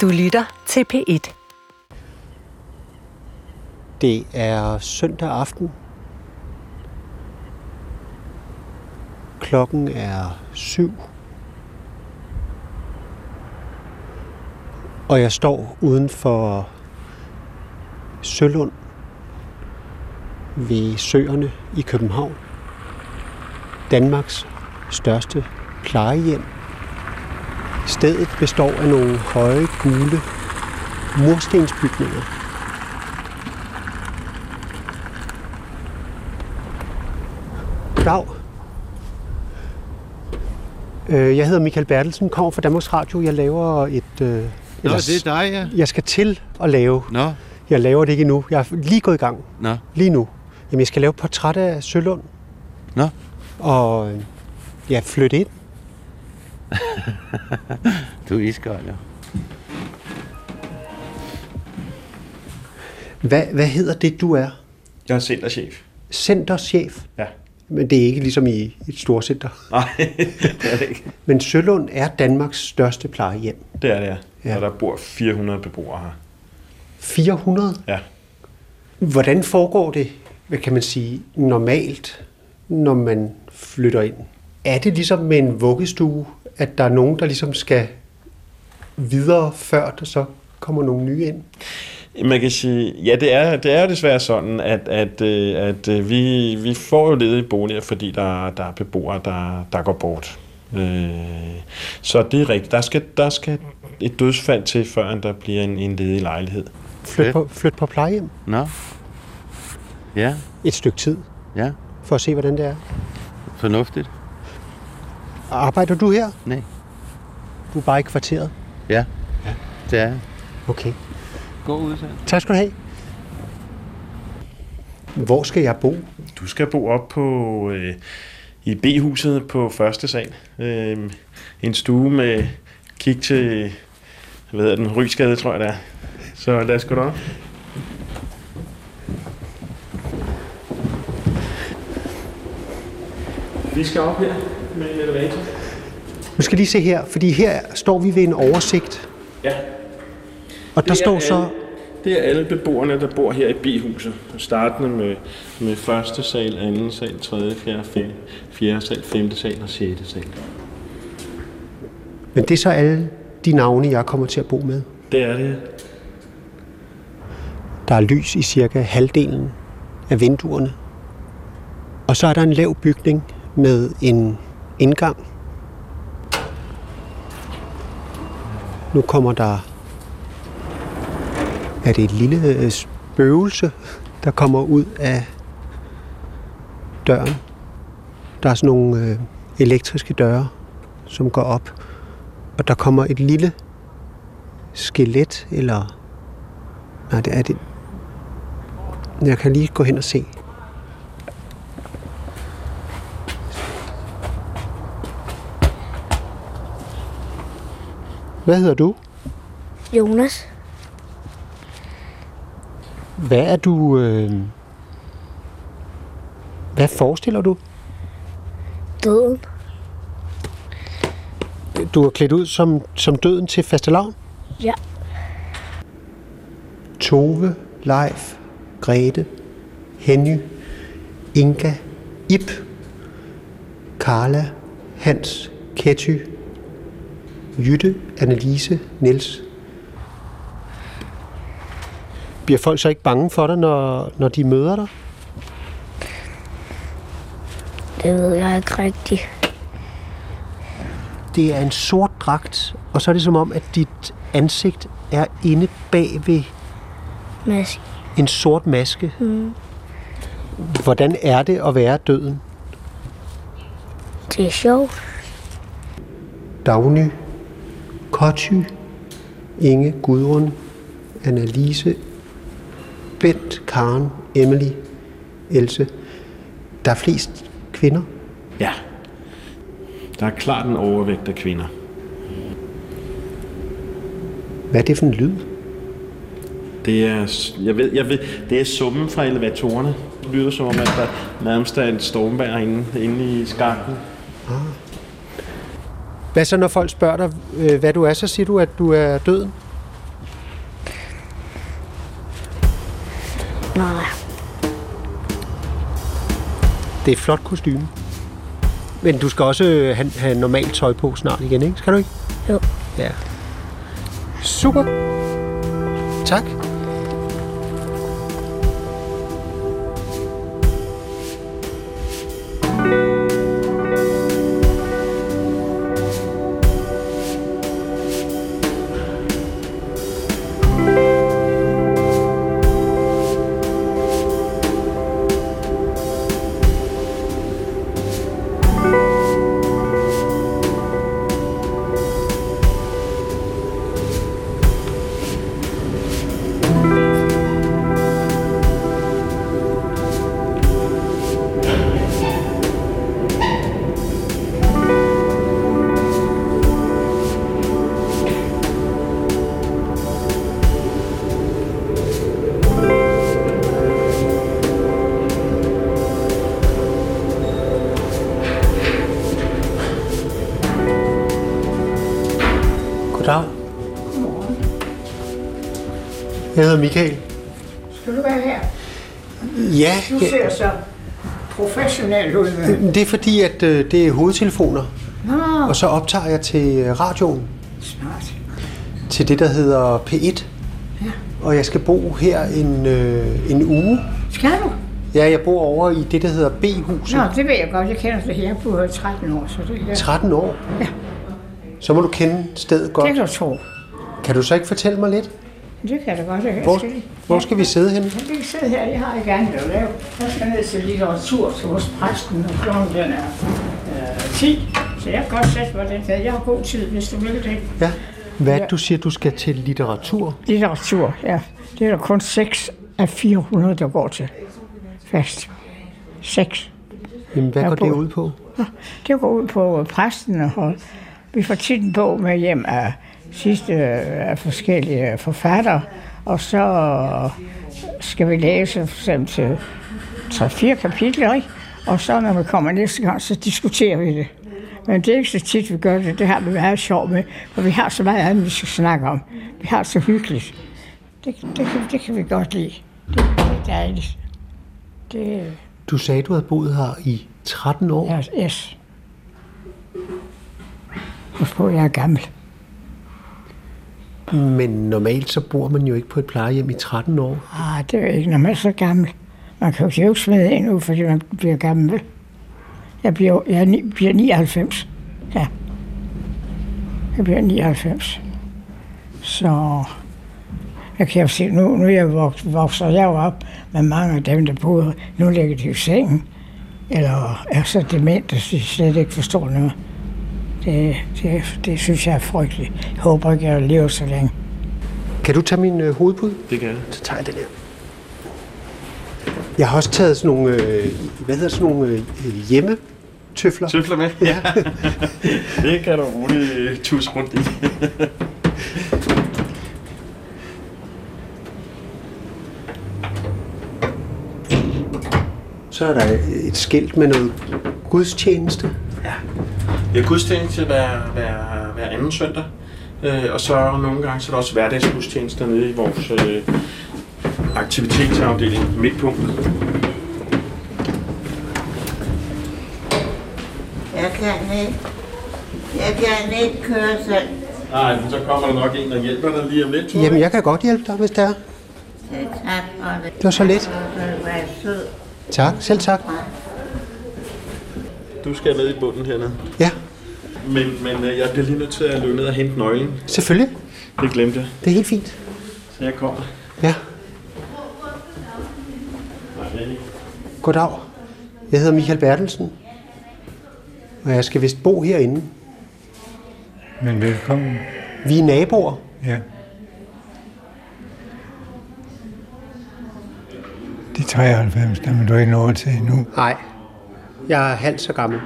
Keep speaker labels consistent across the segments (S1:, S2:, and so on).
S1: Du lytter til P1.
S2: Det er søndag aften. Klokken er syv. Og jeg står uden for Sølund ved Søerne i København. Danmarks største plejehjem. Stedet består af nogle høje, gule murstensbygninger. Dag. Øh, Jeg hedder Michael Bertelsen, kommer fra Danmarks Radio. Jeg laver et... øh,
S3: Nå,
S2: eller s-
S3: det er dig, ja.
S2: Jeg skal til at lave.
S3: Nå,
S2: Jeg laver det ikke endnu. Jeg er lige gået i gang.
S3: nå.
S2: Lige nu. Jamen, jeg skal lave et portræt af Sølund.
S3: Nå.
S2: Og øh, ja, flytte ind.
S3: Du er iskold, ja.
S2: Hvad, hvad hedder det, du er?
S4: Jeg er centerchef.
S2: Centerchef.
S4: Ja.
S2: Men det er ikke ligesom i et storcenter.
S4: Nej, det er det ikke.
S2: Men Sølund er Danmarks største plejehjem.
S4: Det er det, ja.
S2: Ja.
S4: ja. Og der bor 400 beboere her.
S2: 400.
S4: Ja.
S2: Hvordan foregår det, hvad kan man sige, normalt, når man flytter ind? Er det ligesom med en vuggestue, at der er nogen, der ligesom skal videre, før der så kommer nogle nye ind?
S4: Man kan sige, ja, det er, det er jo desværre sådan, at, at, øh, at øh, vi, vi får jo ledige boliger, fordi der, der er beboere, der, der går bort. Øh, så det er rigtigt. Der skal, der skal et dødsfald til, før der bliver en, en ledig lejlighed.
S2: Flyt
S3: Fedt.
S2: på, flyt på plejehjem
S3: Nå. Ja,
S2: et stykke tid,
S3: ja.
S2: for at se, hvordan det er.
S3: Fornuftigt.
S2: Arbejder du her?
S3: Nej.
S2: Du er bare i kvarteret.
S3: Ja. Ja. Det er
S2: Okay.
S3: God udsendelse.
S2: Tak skal du have. Hvor skal jeg bo?
S4: Du skal bo op på øh, i B-huset på første sal. Øh, en stue med kig til, hvad hedder den, Rysgade, tror jeg det er. Så lad os gå derop. Vi skal op her med en elevator.
S2: Nu skal jeg lige se her, fordi her står vi ved en oversigt.
S4: Ja,
S2: Og der
S4: Det er
S2: står så...
S4: alle- Det er alle beboerne, der bor her i bihuset. Startende med, med første sal, anden sal, tredje, fjerde, femte, fjerde sal, femte sal og sjette sal.
S2: Men det er så alle de navne, jeg kommer til at bo med.
S4: Det er det.
S2: Der er lys i cirka halvdelen af vinduerne. Og så er der en lav bygning med en indgang. Nu kommer der... Er det et lille øh, spøgelse, der kommer ud af døren? Der er sådan nogle øh, elektriske døre, som går op. Og der kommer et lille skelet, eller... Nej, det er det, jeg kan lige gå hen og se. Hvad hedder du?
S5: Jonas.
S2: Hvad er du... Øh... Hvad forestiller du?
S5: Døden.
S2: Du er klædt ud som, som døden til fastelavn?
S5: Ja.
S2: Tove, Leif, Grete, Henny, Inga, Ip, Karla, Hans, Ketty, Jytte, Annelise, Niels. Bliver folk så ikke bange for dig, når, når de møder dig?
S5: Det ved jeg ikke rigtigt.
S2: Det er en sort dragt, og så er det som om, at dit ansigt er inde bag ved
S5: Mads.
S2: en sort maske. Mm. Hvordan er det at være døden?
S5: Det er sjovt.
S2: Dagny, Koty, Inge, Gudrun, Annalise, Bent, Karen, Emily, Else. Der er flest kvinder.
S4: Ja. Der er klart en overvægt af kvinder.
S2: Hvad er det for en lyd?
S4: Det er, s- jeg ved, jeg ved, det er summen fra elevatorerne. Det lyder som om, at der nærmest er en stormvær inde, inde i skarken.
S2: Ah. Hvad så, når folk spørger dig, øh, hvad du er, så siger du, at du er døden?
S5: Nej.
S2: Det er et flot kostume. Men du skal også øh, have, have normalt tøj på snart igen, ikke? Skal du ikke?
S5: Jo.
S2: Ja. Super. Tak. Goddag. Jeg hedder Michael.
S1: Skal du være her?
S2: Ja,
S1: Du
S2: ja,
S1: ser så professionel ud.
S2: det er fordi, at øh, det er hovedtelefoner,
S1: Nå,
S2: og så optager jeg til øh, radioen,
S1: smart.
S2: til det, der hedder P1.
S1: Ja.
S2: Og jeg skal bo her en, øh, en uge.
S1: Skal du?
S2: Ja, jeg bor over i det, der hedder B-huset.
S1: Nå, det ved jeg godt. Jeg kender det her på 13 år, så det, ja.
S2: 13 år.
S1: Ja.
S2: Så må du kende stedet godt.
S1: det kan du tro.
S2: Kan du så ikke fortælle mig lidt?
S1: Det kan jeg da godt. Jeg
S2: Hvor,
S1: skal lige-
S2: hvor skal vi sidde henne?
S1: Jeg kan ikke sidde her. Jeg har ikke andet at lave. Jeg skal ned til litteratur til hos præsten, og klokken den er øh, 10. Så jeg kan godt sætte mig den her. Jeg har god tid, hvis du vil det.
S2: Ja. Hvad ja. du siger, du skal til litteratur?
S1: Litteratur, ja. Det er der kun 6 af 400, der går til. Fast. 6.
S2: Jamen, hvad
S1: Jeg
S2: går det
S1: bor-
S2: ud på?
S1: Det går ud på præsten, og vi får tit en bog med hjem af sidste øh, af forskellige forfattere, og så skal vi læse for eksempel til 3-4 kapitler, ikke? Og så når vi kommer næste gang, så diskuterer vi det. Men det er ikke så tit, vi gør det. Det har vi meget sjov med, for vi har så meget andet, vi skal snakke om. Vi har det så hyggeligt. Det, det, kan, det kan vi godt lide. Det, det er dejligt. Det er
S2: Du sagde, du havde boet her i 13 år.
S1: Ja, yes. Husk på, jeg er gammel.
S2: Men normalt så bor man jo ikke på et plejehjem i 13 år.
S1: Ah, det er jo ikke, når man er så gammel. Man kan jo ikke smide ind nu, fordi man bliver gammel. vel? Jeg bliver, jeg er ni, bliver 99. Ja. Jeg bliver 99. Så jeg kan jo se, nu, nu er jeg vok, vokser jeg jo op med mange af dem, der boede. Nu ligger de i sengen. Eller er så dement, at de slet ikke forstår noget. Det, det, det synes jeg er frygteligt. Jeg håber ikke, jeg lever så længe.
S2: Kan du tage min øh, hovedpude?
S4: Det kan jeg.
S2: Så tager jeg den her. Jeg har også taget sådan nogle, øh, hvad hedder sådan nogle øh, hjemmetøfler.
S4: Tøfler med? Ja. det kan du roligt øh, tusse rundt i.
S2: Så er der et skilt med noget gudstjeneste.
S4: Vi har gudstjeneste hver, hver, hver anden søndag. Øh, og så nogle gange så er der også hverdagsgudstjenester nede i vores øh, aktivitetsafdeling midtpunktet.
S6: Jeg kan ikke. Jeg kan ikke køre selv.
S4: Nej, men så kommer der nok en, der hjælper dig lige om lidt. tror jeg.
S2: Jamen, jeg kan godt hjælpe dig, hvis det er.
S6: Det er tak for det.
S2: Det var så lidt.
S6: Du vil være sød.
S2: Tak, selv tak.
S4: Du skal ned i bunden hernede.
S2: Ja,
S4: Men, men øh, jeg bliver lige nødt til at løbe ned og hente nøglen.
S2: selvfølgelig.
S4: Det glemte jeg.
S2: Det er helt fint.
S4: Så jeg kommer.
S2: Ja. Goddag. Jeg hedder Michael Bertelsen. Og jeg skal vist bo herinde.
S7: Men velkommen.
S2: Vi er naboer.
S7: Ja. De 93, dem er du ikke nået til endnu.
S2: Nej, jeg er halvt så gammel.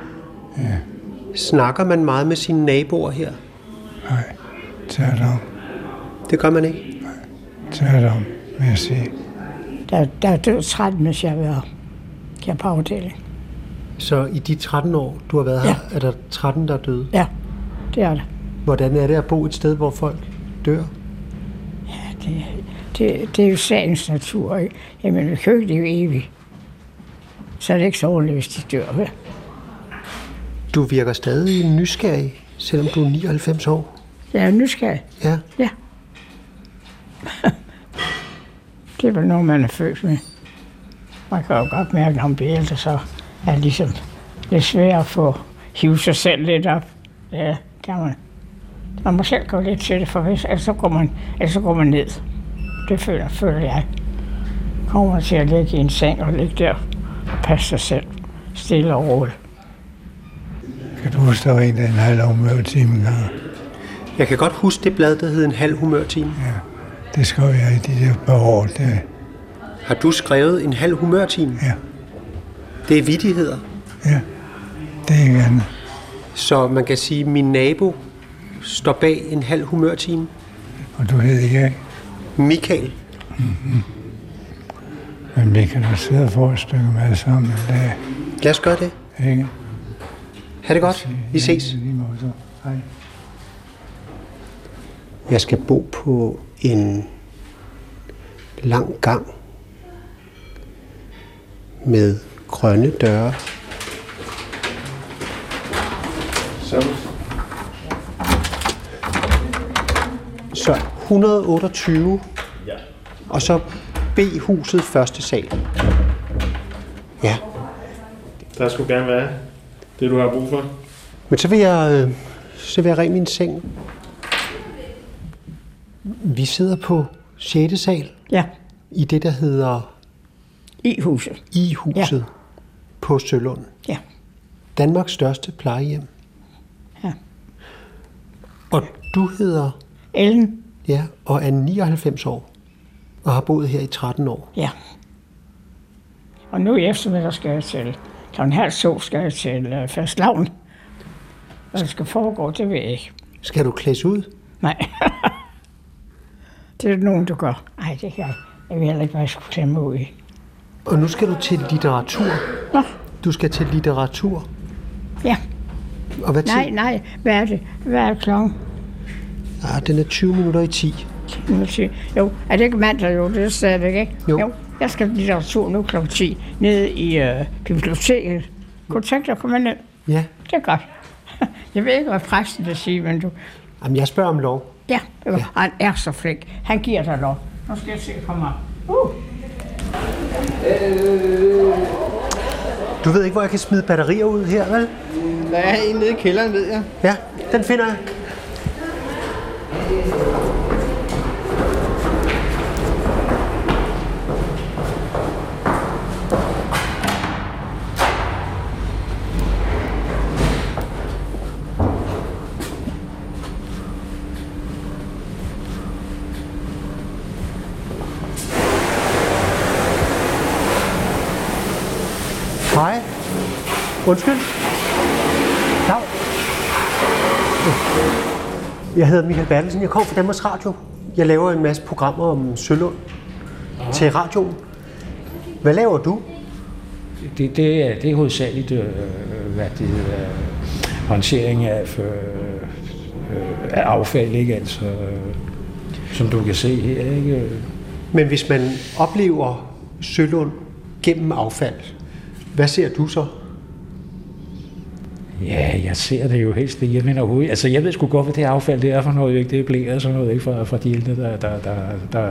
S2: Ja. Snakker man meget med sine naboer her?
S7: Nej. Tag dig om.
S2: Det gør man ikke.
S7: Tag dig om, vil jeg sige.
S1: Der, der er død 13, mens jeg har været her på afdelingen.
S2: Så i de 13 år, du har været her, ja. er der 13, der er døde.
S1: Ja, det er det.
S2: Hvordan er det at bo et sted, hvor folk dør?
S1: Ja, det. Det, det er jo sagens natur, ikke? Jamen, vi kan jo ikke leve evigt. Så er det ikke så ordentligt, hvis de dør, vel?
S2: Du virker stadig nysgerrig, selvom du er 99 år.
S1: Jeg er nysgerrig.
S2: Ja.
S1: Ja. det er vel noget, man er født med. Man kan jo godt mærke, når man bliver ældre, så er det ligesom lidt svært at få hive sig selv lidt op. Ja, kan man. Man må selv gå lidt til det, for hvis, ellers så går man, ellers så går man ned. Det føler, føler jeg. Kommer man til at ligge i en seng og ligge der og passe sig selv stille og roligt.
S7: Kan du forstå en, der er en halv omhørt time gang?
S2: Jeg kan godt huske det blad, der hed En halv humørtime.
S7: Det skrev jeg i de der par år. Det,
S2: Har du skrevet En halv humørtime?
S7: Ja.
S2: Det er vidigheder.
S7: ja, det er ikke andet.
S2: Så man kan sige, at min nabo står bag En halv humørtime.
S7: Og du hed ikke, Mhm.
S2: Michael.
S7: men vi kan da sidde og få et stykke mad sammen en dag.
S2: Lad os gøre det.
S7: Ikke?
S2: Ha' det godt. Vi ses.
S7: Ja, lige måde så. Hej.
S2: Jeg skal bo på en lang gang med grønne døre. Så 128, og så B-huset første sal. Ja,
S4: Der skulle gerne være det, du har brug for.
S2: men så vil jeg, øh, så vil jeg ringe min seng. Vi sidder på 6. sal.
S1: Ja,
S2: i det, der hedder
S1: i huset.
S2: I-huset ja. på Sølund.
S1: Ja.
S2: Danmarks største plejehjem.
S1: Ja.
S2: Og du hedder,
S1: Ellen,
S2: ja, og er 99 år, og har boet her i 13 år.
S1: Ja. Og nu i eftermiddag skal jeg til klokken halv to skal jeg til øh, fastlavn. Hvad der skal foregå, det ved jeg ikke.
S2: Skal du klædes ud?
S1: Nej. det er der nogen, der gør. Nej, det kan jeg. Jeg ved heller ikke, hvad jeg skulle tage mig ud i.
S2: Og nu skal du til litteratur.
S1: Nå,
S2: Du skal til litteratur.
S1: ja.
S2: Og hvad tid?
S1: Nej, nej. Hvad er det? Hvad er klokken?
S2: Ah, den er 20 minutter i 10.
S1: Nu må jeg sige. Jo, er det ikke mandag? Jo, det er stadigvæk, ikke?
S2: Jo.
S1: Jeg skal til litteratur nu klokken 10 nede i øh, biblioteket. Kunne du tænke dig at komme ind?
S2: Ja,
S1: Det er godt. Jeg ved ikke, hvad præsten vil sige, men du...
S2: Jamen, jeg spørger om lov.
S1: Ja, det var- han er så flink. Han giver dig lov. Nu skal jeg se, at komme op. Uh,
S2: Du ved ikke, hvor jeg kan smide batterier ud her, vel?
S8: Der er en nede i kælderen, ved jeg.
S2: Ja, den finder jeg. Hej. Undskyld. Dag. Jeg hedder Michael Bertelsen. Jeg kommer fra Danmarks Radio. Jeg laver en masse programmer om Sølund
S8: Ah.
S2: til radioen. Hvad laver du?
S9: Det, det, er, det er hovedsageligt øh, hvad det hedder, håndtering af, øh, øh, af affald, ikke? Altså, øh, som du kan se her. Ikke?
S2: Men hvis man oplever Sølund gennem affald, hvad ser du så?
S9: Ja, jeg ser det jo helst det hjemme overhovedet. Altså, jeg ved sgu godt, hvad det affald det er for noget, ikke? Det er blæret og sådan noget, ikke? Fra, fra de ældre, der, der, der, der,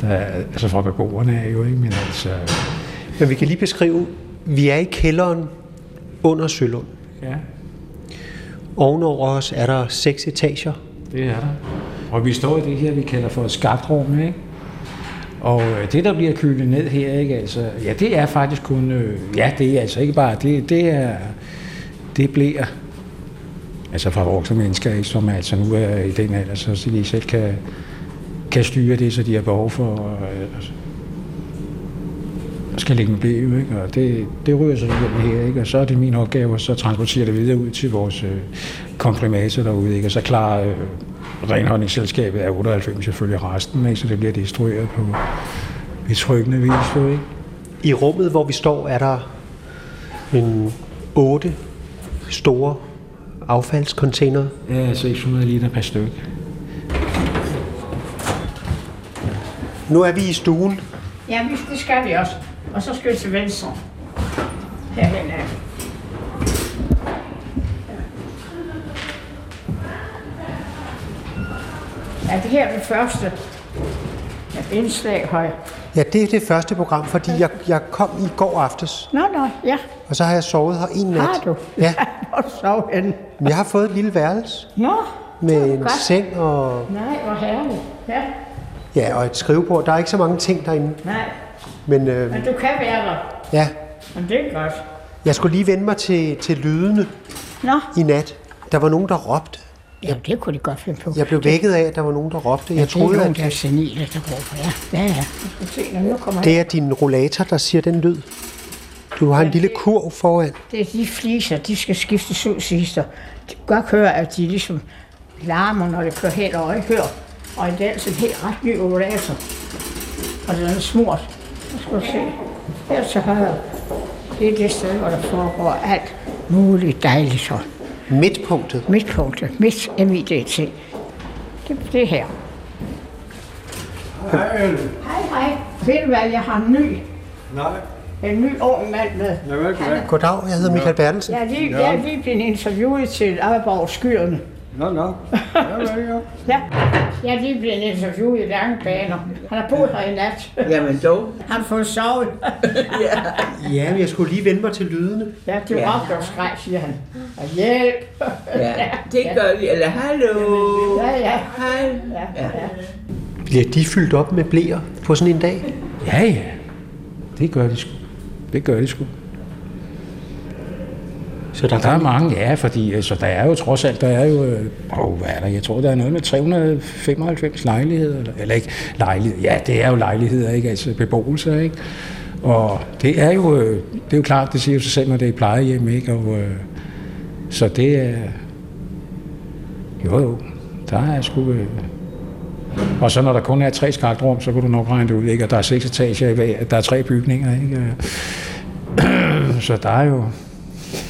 S9: der, altså fra beboerne af jo, ikke? Men altså,
S2: Men vi kan lige beskrive, vi er i kælderen under Sølund.
S9: ja,
S2: Ovenover os er der seks etager.
S9: det er der. Og vi står i det her, vi kalder for et skabt rum, ikke? Og øh, det, der bliver kølet ned her, ikke, altså, ja, det er faktisk kun, øh, ja, det er altså ikke bare, det, det er, det bliver, altså fra voksne mennesker, ikke, som altså nu er i den alder, så så de selv kan, kan styre det, så de har behov for, øh, altså, og skal lægge en blæ, ikke, og det, det ryger så hjem her, ikke, og så er det min opgave at så transportere det videre ud til vores øh, komprimator derude, ikke, og så klarer øh, renholdningsselskabet af 98 selvfølgelig resten, ikke, så det bliver destrueret på betryggende vis, jo, ikke?
S2: I rummet, hvor vi står, er der en otte store affaldscontainer.
S9: Ja, 600 liter per styk.
S2: Nu er vi i stuen.
S1: Ja, vi, det skal vi også. Og så skal vi til venstre. Herhen er vi. Ja, det her er det første Ja, indslag højre.
S2: Ja, det er det første program, fordi jeg, jeg kom i går aftes,
S1: Nå, nå, ja.
S2: og så har jeg sovet her en nat.
S1: Har du?
S2: Ja,
S1: Hvor sov henne?
S2: men jeg har fået et lille værelse
S1: Nå,
S2: med en
S1: godt.
S2: seng og,
S1: nej, hvor herligt. Ja,
S2: ja, og et skrivebord. Der er ikke så mange ting derinde,
S1: nej.
S2: men øh,
S1: Men du kan være der.
S2: ja,
S1: Men det er godt.
S2: jeg skulle lige vende mig til, til lydene
S1: Nå.
S2: i nat. Der var nogen, der råbte.
S1: Ja, det kunne de godt finde på.
S2: Jeg blev vækket af, at der var nogen, der råbte. Jeg troede, at
S1: der er senile, der råber. Ja, ja, ja. Vi skal se, når nu kommer det,
S2: det er din rollator, der siger den lyd. Du har en lille kurv foran.
S1: det er de fliser, de skal skiftes ud, siges der. Du kan godt høre, at de ligesom larmer, når det kører helt over i hør. Og i dag er det en helt ret ny rollator. Og den er smurt. Nu skal du se. Her til højre. Det er det sted, hvor der foregår alt muligt dejligt så.
S2: Midtpunktet.
S1: Midtpunktet. Midt MIDT. Det, det er her.
S7: Nej,
S1: Hej, hej. Ved du hvad, jeg har en ny,
S7: nej.
S1: en ny ung mand med.
S7: Jeg ved ikke, hvad.
S2: Goddag, jeg hedder Michael Bertelsen.
S1: Jeg er lige, jeg er lige blevet interviewet til Amagerborg Skyerne.
S7: Nå, nå. Jeg ved ikke,
S1: Ja. Jeg er lige blevet interviewet i lange baner. Han har boet her i nat.
S8: Jamen dog.
S1: Han får sovet.
S2: Ja, men jeg skulle lige vende mig til lydene.
S1: Ja, det
S8: Ja.
S1: var ja. skreg, siger han. Og hjælp.
S8: Ja, det gør vi. Eller hallo.
S1: Ja, ja.
S8: Hej.
S1: Ja, ja.
S2: Bliver de fyldt op med blæer på sådan en dag?
S9: Ja, ja. Det gør de sgu. Det gør de sgu.
S2: Så der,
S9: Der er mange, ja, fordi altså, der er jo trods alt, der er jo, øh, åh, hvad er der, jeg tror, der er noget med 395 lejligheder, eller, eller ikke lejligheder, ja, det er jo lejligheder, ikke, altså beboelser, ikke, og det er jo, øh, det er jo klart, det siger jo sig selv, når det er et plejehjem, ikke, og øh, så det er, jo, jo, der er sgu, øh, og så når der kun er tre skagtrum, så kan du nok regne det ud, ikke, og der er seks etager i hver, der er tre bygninger, ikke, øh. så der er jo,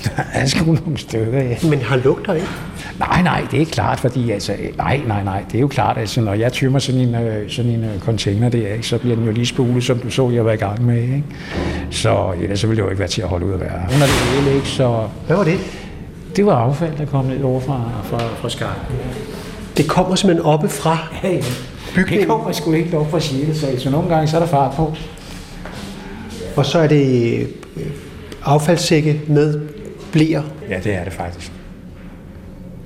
S9: der er sgu nogle stykker, ja.
S2: Men har lugter ikke?
S9: Nej, nej, det er klart, fordi altså, nej, nej, nej, det er jo klart, altså, når jeg tømmer sådan en, øh, sådan en øh, container der, ikke, så bliver den jo lige spulet, som du så, jeg var i gang med, ikke? Så ellers så ville det jo ikke være til at holde ud at være under det hele, ikke? Så
S2: Hvad var det?
S9: det var affald, der kom ned over fra, fra, fra skarpen.
S2: Det kommer simpelthen oppe fra.
S9: Ja, ja.
S2: Bygningen.
S9: Det kommer sgu helt op fra Sjæle, så, så nogle gange så er der fart på.
S2: Og så er det øh, affaldssække med blæer.
S9: Ja, det er det faktisk.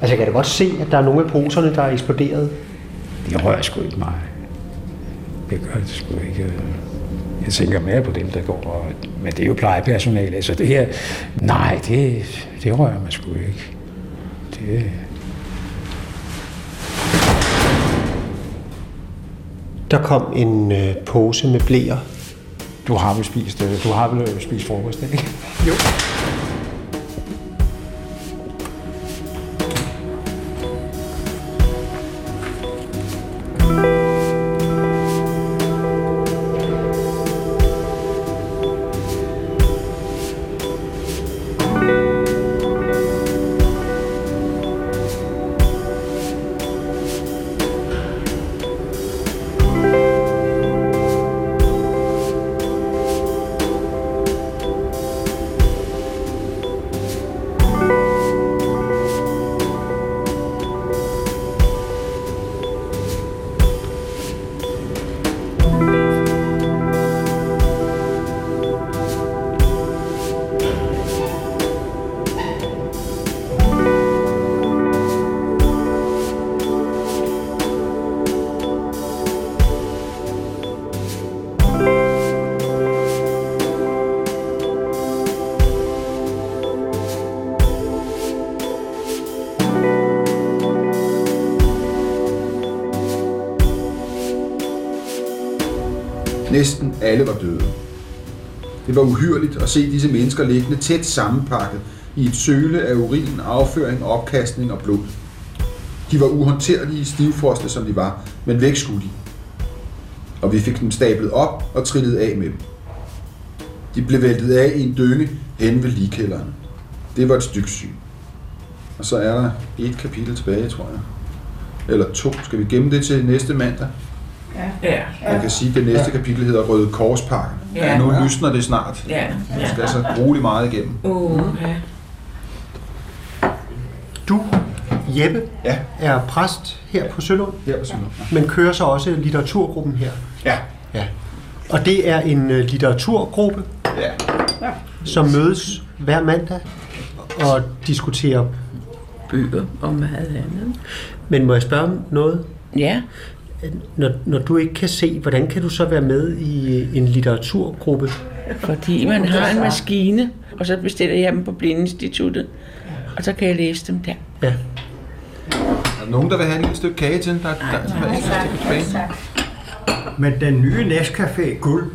S2: Altså, jeg kan da godt se, at der er nogle af poserne, der er eksploderet.
S9: Det rører sgu ikke mig. Det gør det sgu ikke. Jeg tænker mere på dem, der går. Og, men det er jo plejepersonale. Altså det her, nej, det, det rører mig sgu ikke. Det,
S2: Der kom en øh, pose med blæer.
S9: du har vel spist, øh, du har vel øh, spist frokost, ikke?
S10: Næsten alle var døde. Det var uhyrligt at se disse mennesker liggende tæt sammenpakket i et søle af urin, afføring, opkastning og blod. De var uhåndterlige stivfroste, som de var, men væk skulle de. Og vi fik dem stablet op og trillet af med dem. De blev væltet af i en dynge hen ved ligkælderen. Det var et stykke syn. Og så er der et kapitel tilbage, tror jeg. Eller to. Skal vi gemme det til næste mandag?
S1: ja.
S10: Ja. Man kan sige, at det næste kapitel hedder Røde Korspakken.
S8: Ja.
S10: Ja. Nu lysner det snart.
S8: Ja.
S10: Man skal altså rolig meget igennem.
S8: Uh, ja.
S2: Du, Jeppe,
S10: ja.
S2: er præst her på Sølund,
S10: Her på Sønder.
S2: men kører så også litteraturgruppen her.
S10: Ja.
S2: Ja. Og det er en øh, litteraturgruppe,
S10: Ja.
S2: som mødes hver mandag og diskuterer
S8: Bøger og meget andet.
S2: Men må jeg spørge om noget?
S8: Ja.
S2: Når, når du ikke kan se, hvordan kan du så være med i øh, en litteraturgruppe?
S11: Fordi man har en maskine, og så bestiller jeg dem på Blindeinstituttet. Og så kan jeg læse dem der.
S10: Er der nogen, der vil have et lille stykke kage til? Der er, der, der er et stykke tilbage.
S12: Men den nye Nescafé Guld,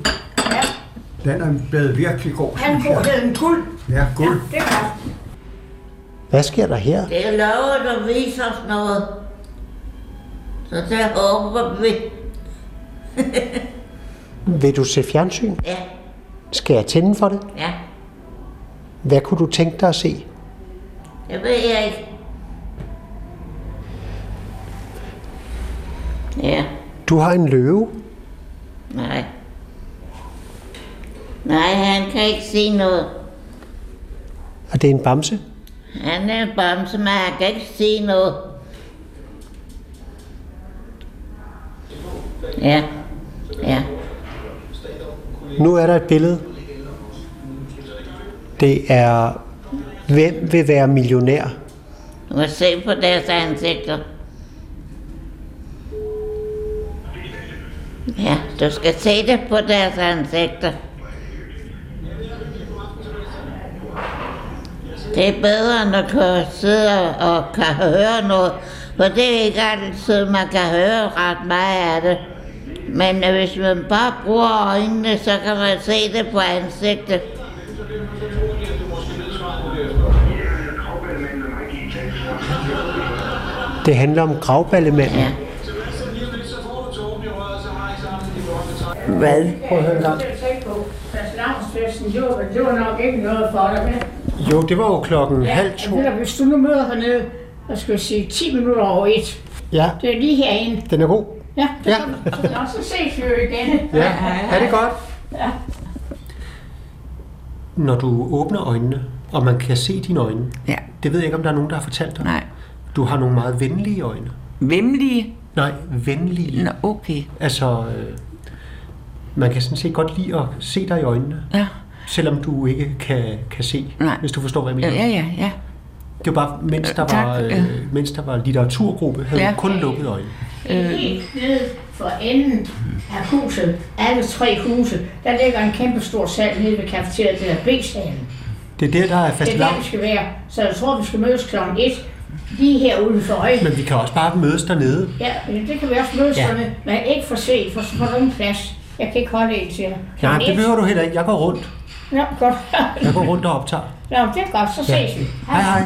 S12: ja. den er blevet virkelig god,
S6: Han
S12: synes
S6: får
S12: jeg.
S6: den guld.
S12: Ja, guld.
S6: Det er godt.
S2: Hvad sker der her?
S6: Det er lovet at vise os noget. Så der håber vi.
S2: Vil du se fjernsyn?
S6: Ja.
S2: Skal jeg tænde for det?
S6: Ja,
S2: Hvad kunne du tænke dig at se?
S6: det ved jeg ikke. Ja,
S2: Du har en løve.
S6: nej. Nej, han kan ikke sige noget.
S2: Og det er en bamse.
S6: Han er en bamse, men han kan ikke sige noget. Ja, ja.
S2: Nu er der et billede. Det er, hvem vil være millionær?
S6: Du kan se på deres ansigter. Ja, du skal se det på deres ansigter. Det er bedre, end at kunne sidde og kan høre noget, for det er ikke altid, man kan høre ret meget af det. Men øh, hvis man bare bruger øjnene, så kan man se det på ansigtet.
S2: Det handler om gravballemanden. Ja.
S11: Hvad?
S1: Prøv at høre en gang. Fastelavnsfesten, det var, det var nok ikke noget for dig, vel?
S2: Jo, det var jo klokken
S1: Ja,
S2: halv to.
S1: Eller hvis du nu møder hernede, jeg skal jeg sige 10 minutter over et.
S2: Ja,
S1: Det er lige herinde.
S2: den er god.
S1: Ja,
S2: Ja.
S1: ja. så ses vi jo igen.
S2: Ja, er det godt?
S1: Ja.
S2: Når du åbner øjnene, og man kan se dine øjne, ja. det ved jeg ikke, om der er nogen, der har fortalt dig.
S11: Nej.
S2: Du har nogle meget venlige øjne.
S11: Vemmelige?
S2: Nej, venlige.
S11: Nå, okay.
S2: Altså, øh, man kan sådan set godt lide at se dig i øjnene.
S11: Ja.
S2: Selvom du ikke kan, kan se,
S11: Nej.
S2: hvis du forstår, hvad jeg
S11: Ja,
S2: mener.
S11: ja, ja. ja.
S2: Det var bare, mens der,
S11: Øh, tak,
S2: var,
S11: ja.
S2: øh, mens der var litteraturgruppe, havde
S1: Ja.
S2: ja. kun lukket øjnene.
S1: Det er
S11: Øh.
S1: helt nede for enden af huset, alle tre huse, der ligger en kæmpe stor sal nede ved kafeteriet, der hedder B-salen.
S2: Det er der, der er
S1: Det
S2: fast
S1: er der, vi skal være. Så jeg tror, vi skal mødes kl. 1, lige her uden for øje.
S2: Men vi kan også bare mødes dernede.
S1: Ja, men det kan vi også mødes
S2: Ja.
S1: ja. med, men ikke for sent, for så får du ingen plads. Jeg kan ikke holde en til jer.
S2: Nej, det behøver du heller ikke. Jeg går rundt.
S1: Nå, godt.
S2: Jeg går rundt og optager.
S1: Nå, det er godt, så ses vi.
S2: Hej, hej.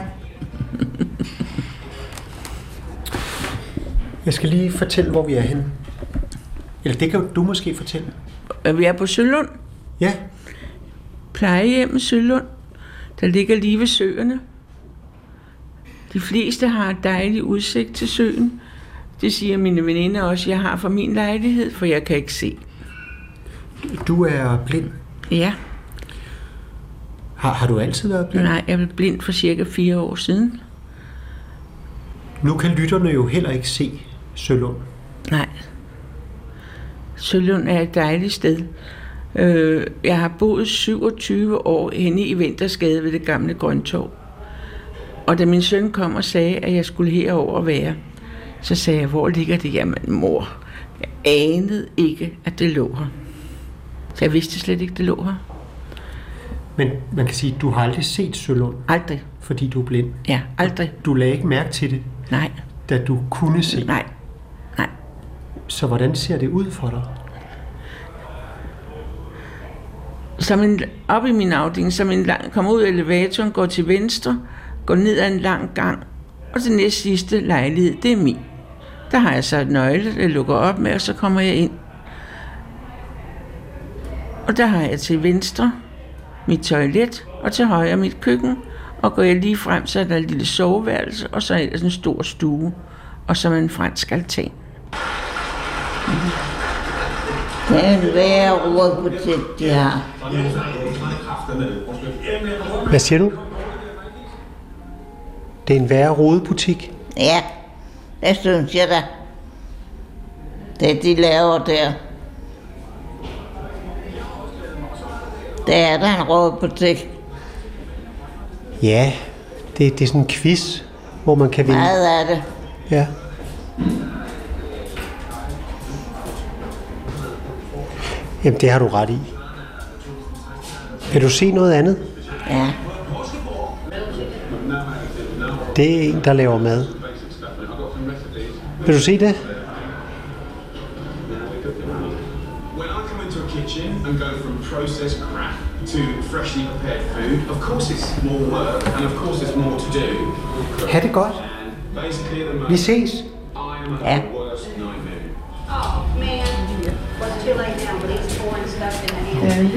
S2: Jeg skal lige fortælle, hvor vi er henne. Eller det kan du måske fortælle.
S11: Og Øh, Vi er på Sølund.
S2: Ja.
S11: Plejehjemmet Sølund, der ligger lige ved søerne. De fleste har et dejlig udsigt til søen. Det siger mine veninder også, jeg har fra min lejlighed, for jeg kan ikke se.
S2: Du er blind.
S11: Ja.
S2: Har, har du altid været blind?
S11: Nej, jeg blev blind for cirka fire år siden.
S2: Nu kan lytterne jo heller ikke se Sølund.
S11: Nej. Sølund er et dejligt sted. Øh, Jeg har boet 27 år henne i Vintersgade ved det gamle Grøntog. Og da min søn kom og sagde, at jeg skulle herover og være, så sagde jeg, hvor ligger det? Jamen, mor, jeg anede ikke, at det lå her. Så jeg vidste slet ikke, det lå her.
S2: Men man kan sige, at du har aldrig set Sølund.
S11: Aldrig.
S2: Fordi du er blind.
S11: Ja, aldrig.
S2: Du lagde ikke mærke til det,
S11: Nej.
S2: da du kunne se.
S11: Nej. Nej.
S2: Så hvordan ser det ud for dig?
S11: som en, op i min afdeling, som en lang, kommer ud af elevatoren, går til venstre, går ned ad en lang gang, og den næste sidste lejlighed, det er min. Der har jeg så et nøgle, jeg lukker op med, og så kommer jeg ind. Og der har jeg til venstre mit toilet, og til højre mit køkken, og går jeg lige frem, så er der et lille soveværelse, og så ellers en stor stue, og så er en fransk altan.
S6: Det er en værre rådbutik, de har.
S2: Hvad siger du? Det er en værre rodebutik.
S6: Ja, det synes jeg da. Det de laver der. Det er da en rådbutik.
S2: Ja, det, det er sådan en quiz, hvor man kan vinde.
S6: Meget af det.
S2: Ja. Jamen, det har du ret i. Kan du se noget andet?
S6: Ja.
S2: Det er en, der laver mad. Vil du se det?
S13: When I come into a kitchen and go from processed crap to freshly prepared food, of course it's more work and of course it's more to do.
S2: Ha' det godt.
S13: Basically, at the
S2: Vi
S13: moment,
S2: ses.
S13: I am at
S2: Ja.
S13: my worst nightmare.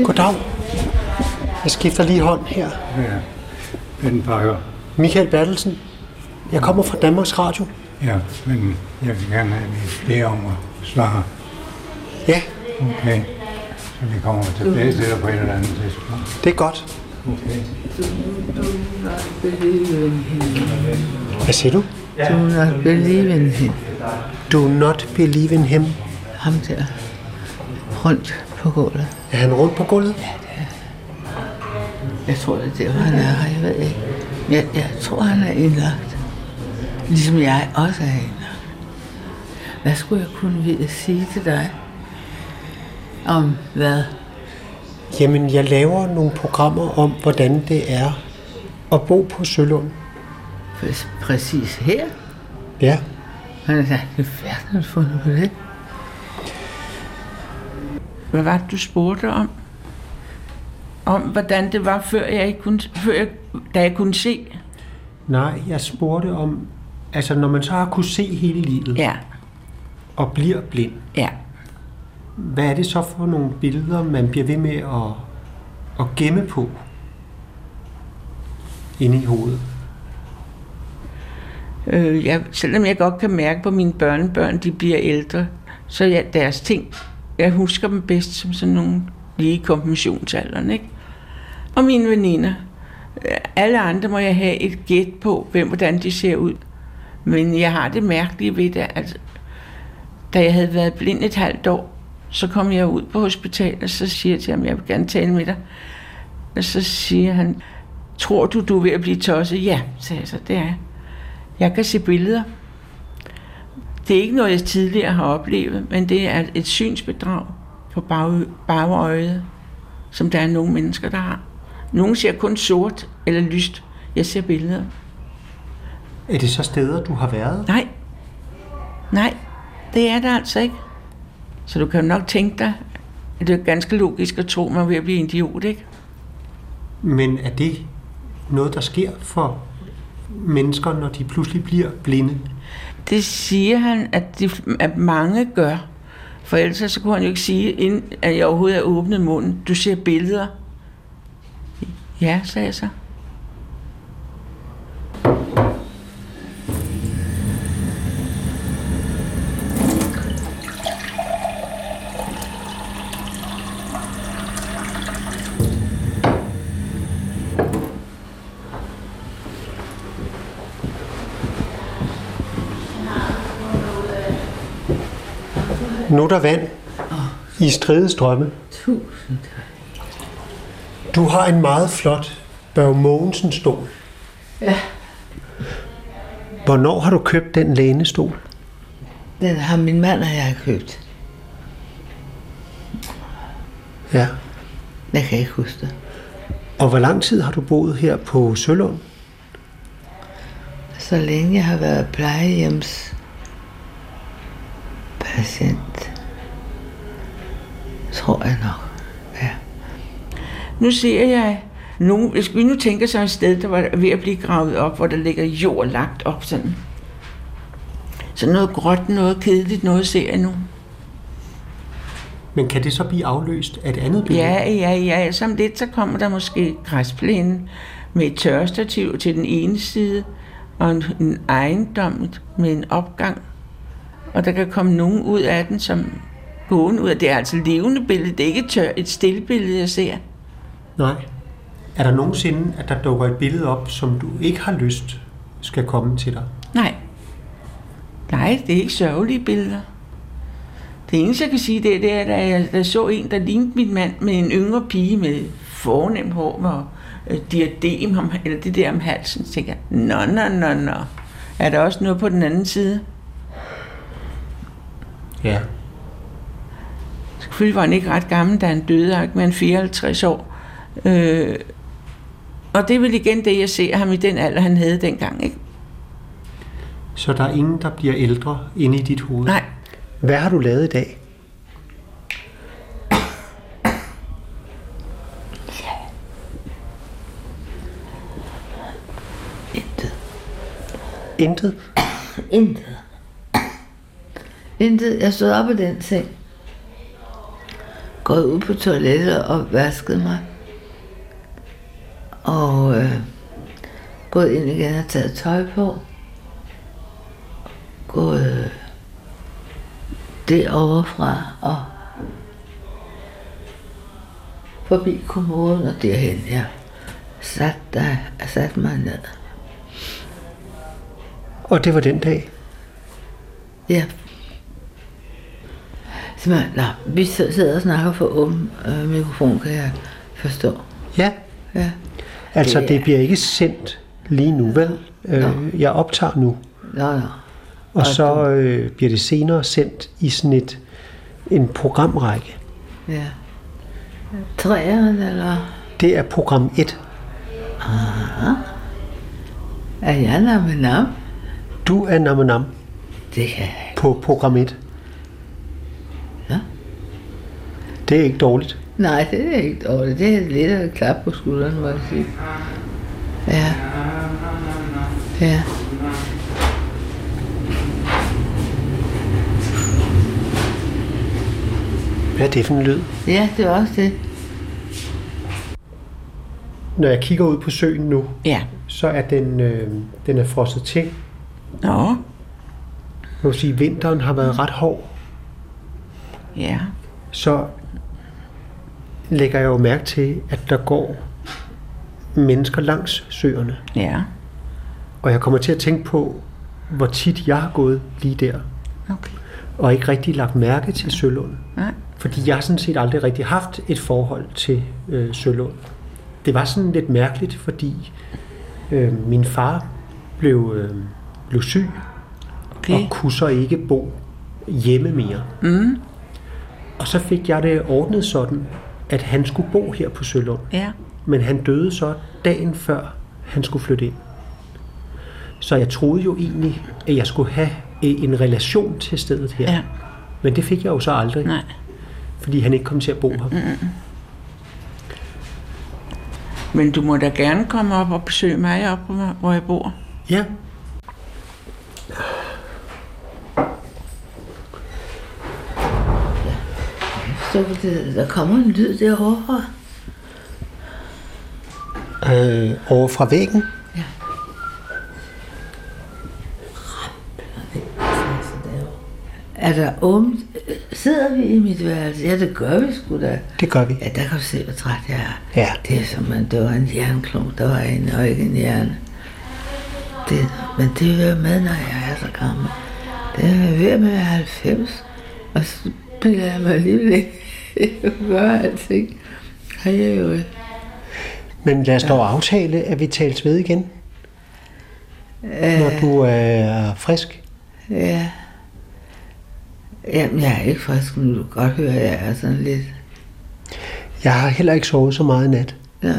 S2: Goddag. Jeg skifter lige hånd her.
S7: Ja, den pakker.
S2: Michael Bertelsen. Jeg kommer fra Danmarks Radio.
S7: Ja, men jeg vil gerne have lidt flere om at svare.
S2: Ja.
S7: Okay. Så vi kommer tilbage til dig på et eller andet tidspunkt.
S2: Det er godt.
S7: Okay.
S2: Hvad siger du?
S8: Do not believe in him.
S2: Do not believe in him.
S8: Ham der. Rundt på gulvet.
S2: Er han rundt på gulvet? Ja,
S8: det er. Jeg tror, det er der, han er. Jeg ved ikke. Jeg, jeg tror, han er indlagt. Ligesom jeg også er indlagt. Hvad skulle jeg kunne vide at sige til dig? Om hvad?
S2: Jamen, jeg laver nogle programmer om, hvordan det er at bo på Sølund.
S8: Præ- Præcis her?
S2: Ja.
S8: Han er i verden har du fundet på det.
S11: Hvad var det, du spurgte om? Om hvordan det var, før jeg ikke kunne, før jeg, da jeg kunne se?
S2: Nej, jeg spurgte om, altså når man så har kunne se hele livet
S11: ja.
S2: og bliver blind,
S11: ja.
S2: hvad er det så for nogle billeder, man bliver ved med at, at gemme på inde i hovedet?
S11: Øh, jeg, selvom jeg godt kan mærke på mine børnebørn, de bliver ældre, så jeg, deres ting, jeg husker dem bedst som sådan nogle lige i konfirmationsalderen, ikke? Og mine veninder. Øh, Alle andre må jeg have et gæt på, hvem, hvordan de ser ud. Men jeg har det mærkelige ved det, at da jeg havde været blind et halvt år, så kom jeg ud på hospitalet, og så siger jeg til ham, jeg vil gerne tale med dig. Og så siger han, tror du, du er ved at blive tosset? Ja, sagde jeg så, det er jeg. Jeg kan se billeder. Det er ikke noget, jeg tidligere har oplevet, men det er et synsbedrag på bag- bagøjet, som der er nogle mennesker, der har. Nogle ser kun sort eller lyst. Jeg ser billeder.
S2: Er det så steder, du har været?
S11: Nej. Nej, det er det altså ikke. Så du kan jo nok tænke dig, at det er ganske logisk at tro, at man er ved at blive en idiot, ikke?
S2: Men er det noget, der sker for mennesker, når de pludselig bliver blinde?
S11: Det siger han, at, de, at mange gør. For ellers så kunne han jo ikke sige, inden at jeg overhovedet har åbnet munden, du ser billeder. Ja, sagde jeg så.
S2: Nu er der vand i stride strømme.
S8: Tusind
S2: Du har en meget flot Børge Mogensen-stol.
S8: Ja.
S2: Hvornår har du købt den lænestol?
S8: Den har min mand og jeg købt.
S2: Ja.
S8: Jeg kan ikke huske det.
S2: Og hvor lang tid har du boet her på Sølund?
S8: Så længe jeg har været plejehjems patient, tror jeg nok.
S11: Nu ser jeg, nu, hvis vi nu tænker sig et sted, der var ved at blive gravet op, hvor der ligger jord lagt op sådan. Så noget gråt, noget kedeligt, noget ser jeg nu.
S2: Men kan det så blive afløst af et andet billede?
S11: Ja, ja, ja. Så om lidt, så kommer der måske græsplæne med et tørrestativ til den ene side, og en, en ejendom med en opgang. Og der kan komme nogen ud af den, som gående ud af. Det er altså et levende billede, det er ikke et tør, et stillbillede, jeg ser.
S2: Nej. Er der nogensinde, at der dukker et billede op, som du ikke har lyst skal komme til dig?
S11: Nej. Nej, det er ikke sørgelige billeder. Det eneste, jeg kan sige, det er, det er da jeg der så en, der lignede min mand med en yngre pige med fornem hår og øh, diadem, om, eller det der om halsen, så tænker jeg, nå, nå, nå, nå. Er der også noget på den anden side?
S2: Ja.
S11: Selvfølgelig var han ikke ret gammel, da han døde, ikke? men 54 år. Øh, og det er vel igen det, jeg ser ham i den alder, han havde dengang. Ikke?
S2: Så der er ingen, der bliver ældre inde i dit hoved?
S11: Nej.
S2: Hvad har du lavet i dag? Intet?
S14: Intet. Intet. Jeg stod op i den seng. Gået ud på toilettet og vasket mig. Og øh, gået ind igen og taget tøj på. Gået øh, det overfra og forbi kommoden og derhen. Jeg sat, der, sat mig ned.
S2: Og det var den dag?
S14: Ja. Simpelthen, nå, vi s- sidder og snakker for åben øh, mikrofon, kan jeg forstå.
S2: Ja.
S14: Ja.
S2: Altså,
S14: Det
S2: det,
S14: er-
S2: bliver ikke sendt lige nu, vel? Øh, jeg optager nu.
S14: Nå, nå.
S2: Og, så øh, bliver det senere sendt i sådan et, en programrække.
S14: Ja. Træerne, eller?
S2: Det er program 1.
S14: Aha. Ah. Er jeg namenam?
S2: Du er namenam.
S14: Det kan jeg
S2: På program 1.
S14: Ja.
S2: Det er ikke dårligt.
S14: Nej, det er ikke dårligt. Det er lidt af et klap på skulderen, må jeg sige. Ja. Ja.
S2: Hvad er det for en lyd?
S14: Ja, det er også det.
S2: Når jeg kigger ud på søen nu,
S11: ja.
S2: så er den, øh, den er frosset til.
S11: Nå.
S2: Jeg vil sige, at vinteren har været ret hård.
S11: Ja.
S2: Så lægger jeg jo mærke til, at der går mennesker langs søerne.
S11: Ja.
S2: Og jeg kommer til at tænke på, hvor tit jeg har gået lige der.
S11: Okay.
S2: Og ikke rigtig lagt mærke til Sølund.
S11: Nej.
S2: Fordi jeg har sådan set aldrig rigtig haft et forhold til øh, Sølund. Det var sådan lidt mærkeligt, fordi øh, min far blev, øh, blev syg
S11: okay.
S2: og kunne så ikke bo hjemme mere.
S11: Mm.
S2: Og så fik jeg det ordnet sådan, at han skulle bo her på Sølund.
S11: Ja.
S2: Men han døde så dagen før han skulle flytte ind. Så jeg troede jo egentlig, at jeg skulle have øh, en relation til stedet her.
S11: Ja.
S2: Men det fik jeg jo så aldrig.
S11: Nej.
S2: Fordi han ikke kom til at bo her.
S11: Mm. Men du må da gerne komme op og besøge mig op, hvor jeg bor.
S2: Ja.
S14: Så det, der kommer en lyd derovre fra.
S2: Øh, over fra væggen?
S14: Er der åbent? Sidder vi i mit værelse? Ja, det gør vi sgu da.
S2: Det gør vi.
S14: Ja, der kan du se, hvor træt jeg er.
S2: Ja.
S14: Det er som, at det var en jernklump, der var en, og ikke en jern. Det, men det hører med, når jeg er så gammel. Det er ved med at være 90, og så bliver jeg mig alligevel ikke. Jeg gør alting. Har jeg jo ikke.
S2: Men lad os dog aftale, at vi tales ved igen, når du øh, er frisk.
S14: Ja. Jamen, jeg er ikke frisk, men du kan godt høre, at jeg er sådan lidt...
S2: Jeg har heller ikke sovet så meget i nat.
S14: Nej.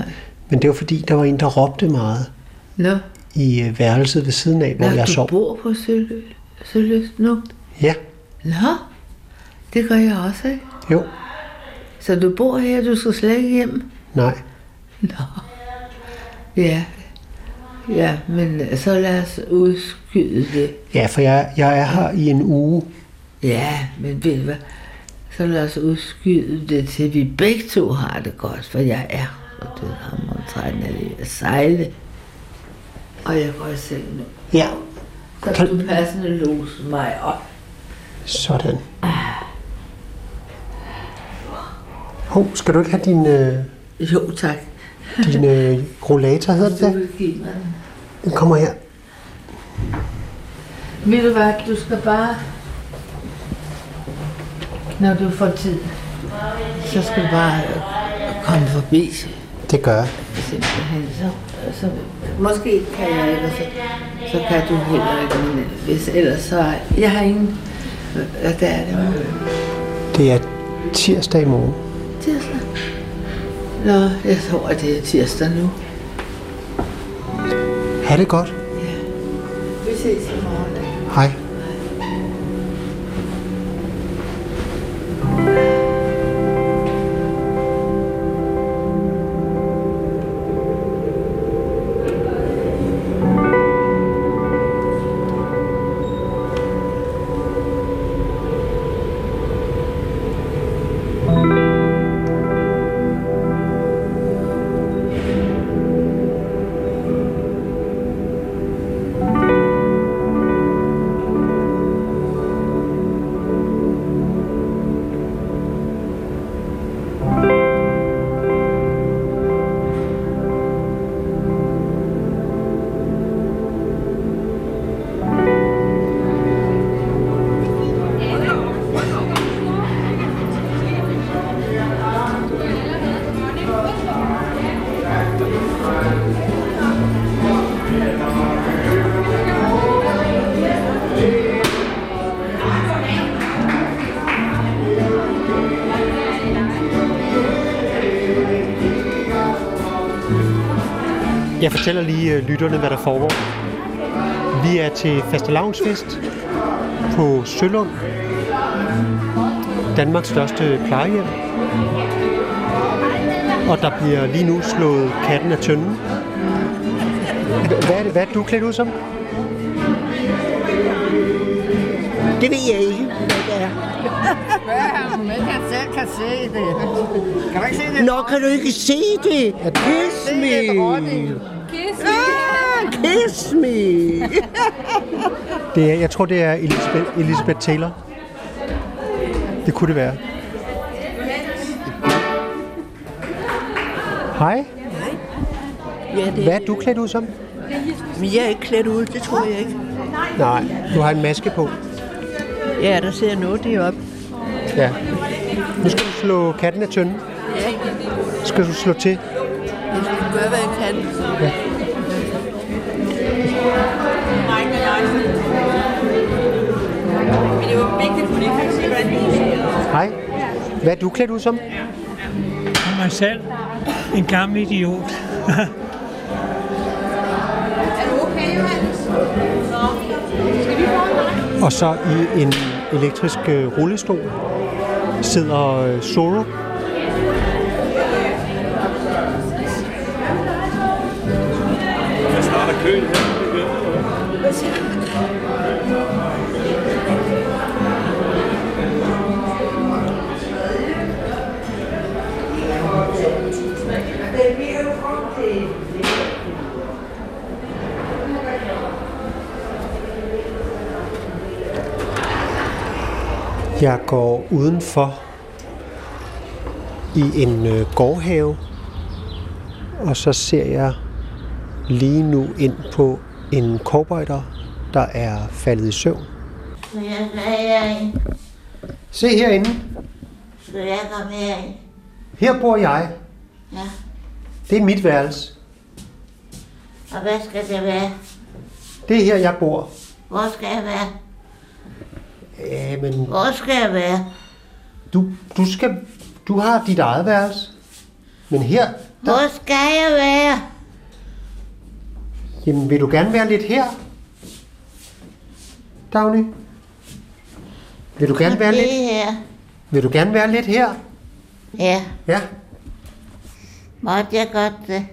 S2: Men det var fordi, der var en, der råbte meget
S14: Nå,
S2: i øh, værelset ved siden af, hvor
S14: Nå,
S2: jeg
S14: du
S2: sov.
S14: bor på Sølyst Sølyst nu?
S2: Ja,
S14: Nå, det gør jeg også, ikke?
S2: jo,
S14: Så du bor her, du skal slet ikke hjem?
S2: nej.
S14: Ja. Ja, men så lad os udskyde det.
S2: Ja, for jeg, jeg er her i en uge.
S14: Ja, men ved du hvad? Så lad os udskyde det til, vi begge to har det godt, for jeg er og død ham og træt af lige at sejle. Og jeg går i seng nu.
S2: Ja.
S14: Så kan du passende lose mig op.
S2: Sådan. Hov, skal du ikke have din... Øh,
S8: jo, tak.
S2: din øh, rollator, hedder det der? Den kommer her.
S14: Ved du hvad, du skal bare, når du får tid, så skal du bare øh, komme forbi.
S2: Det gør jeg.
S14: Simpelthen, så, så måske kan jeg ikke, så, så kan du heller ikke, men hvis ellers så, jeg har ingen, øh, der er det jo
S2: Det er tirsdag i morgen.
S14: tirsdag. Nå, jeg tror, at det er tirsdag nu.
S2: Ha' det godt.
S14: Vi ses i morgen.
S2: Hej. Jeg fortæller lige øh, lytterne, hvad der foregår. Vi er til fastelavnsfest på Sølund, Danmarks største plejehjem. Og der bliver lige nu slået katten af tønden. Hva- Hvad er, det, hvad er det, du er klædt ud som? Det ved jeg ikke, hvad det er.
S15: Hvad er han, som ikke han selv kan se det? Kan du ikke se det?
S16: Nå, kan du ikke se det? Kiss me!
S15: Kiss
S16: Ah, kiss me!
S2: Det er, jeg tror, det er Elisabeth, Elisabeth Taylor. Det kunne det være. Hej,
S17: Ja, det
S2: hvad er du klædt ud som?
S17: Men jeg er ikke klædt ud, det tror jeg ikke.
S2: Nej, du har en maske på.
S17: Ja, der ser noget deroppe.
S2: Ja. Nu skal du slå katten af tønden.
S17: Ja,
S2: Skal du slå til?
S17: jeg skal gøre, hvad jeg kan.
S2: Ja.
S15: Men det er jo vigtigt, fordi han siger, hvordan det
S2: Hej, hvad er du klædt ud som?
S18: Og mig selv. En gammel idiot.
S15: Er du okay, Johannes? Nå. Skal vi få en vej?
S2: Og så i en elektrisk øh, rullestol sidder øh, Zoro.
S13: Jeg starter køen her.
S2: Jeg går udenfor i en øh, gårdhave, og så ser jeg lige nu ind på en cowboyder, der er faldet i søvn.
S6: Så jeg skal herind.
S2: Se herinde,
S6: Så jeg kom herind.
S2: her bor jeg.
S6: Ja.
S2: Det er mit værelse.
S6: Og hvad skal det være?
S2: Det er her, jeg bor.
S6: Hvor skal jeg være?
S2: Ja, men...
S6: Hvor skal jeg være?
S2: Du, du, skal, du har dit eget værelse. Men her,
S6: Hvor skal jeg være?
S2: jamen vil du gerne være lidt her? Dagny? Vil du gerne være
S6: det
S2: lidt,
S6: her.
S2: vil du gerne være lidt her?
S6: Ja.
S2: Ja.
S6: Måtte jeg godt øh, det?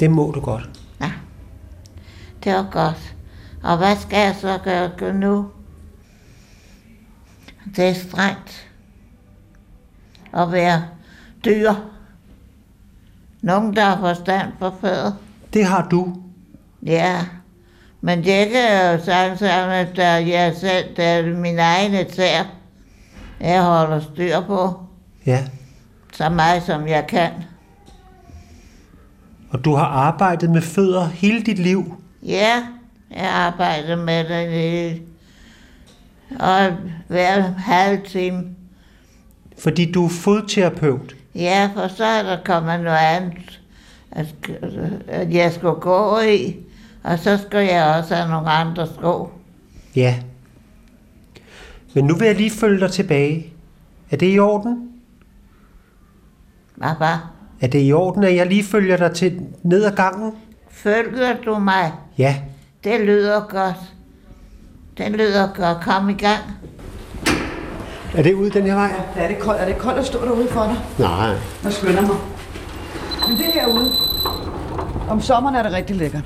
S2: Det må du godt.
S6: Det var godt. Og hvad skal jeg så gøre nu? Det er strengt at være dyr. Nogen, der har forstand på fædre.
S2: Det har du.
S6: Ja, men det kan jo sammen sammen, at der er jeg selv, der er min egen tær, jeg holder styr på.
S2: Ja.
S6: så meget som jeg kan.
S2: Og du har arbejdet med fødder hele dit liv.
S6: Ja, jeg arbejder med det hele. Og hver halv time.
S2: Fordi du er fodterapeut.
S6: Ja, for så er der kommet noget andet, at, at jeg skulle gå i. Og så skulle jeg også have nogle andre sko.
S2: Ja. Men nu vil jeg lige følge dig tilbage. Er det i orden?
S6: Hvad, hvad?
S2: Er det i orden, at jeg lige følger dig til ned ad gangen?
S6: Følger du mig?
S2: Ja.
S6: Det lyder godt. Det lyder godt. Kom i gang.
S2: Er det ud den her vej?
S19: Ja, er det koldt? Er det koldt at stå derude for dig?
S2: Nej.
S19: Jeg skynder mig. Men det er herude. Om sommeren er det rigtig lækkert.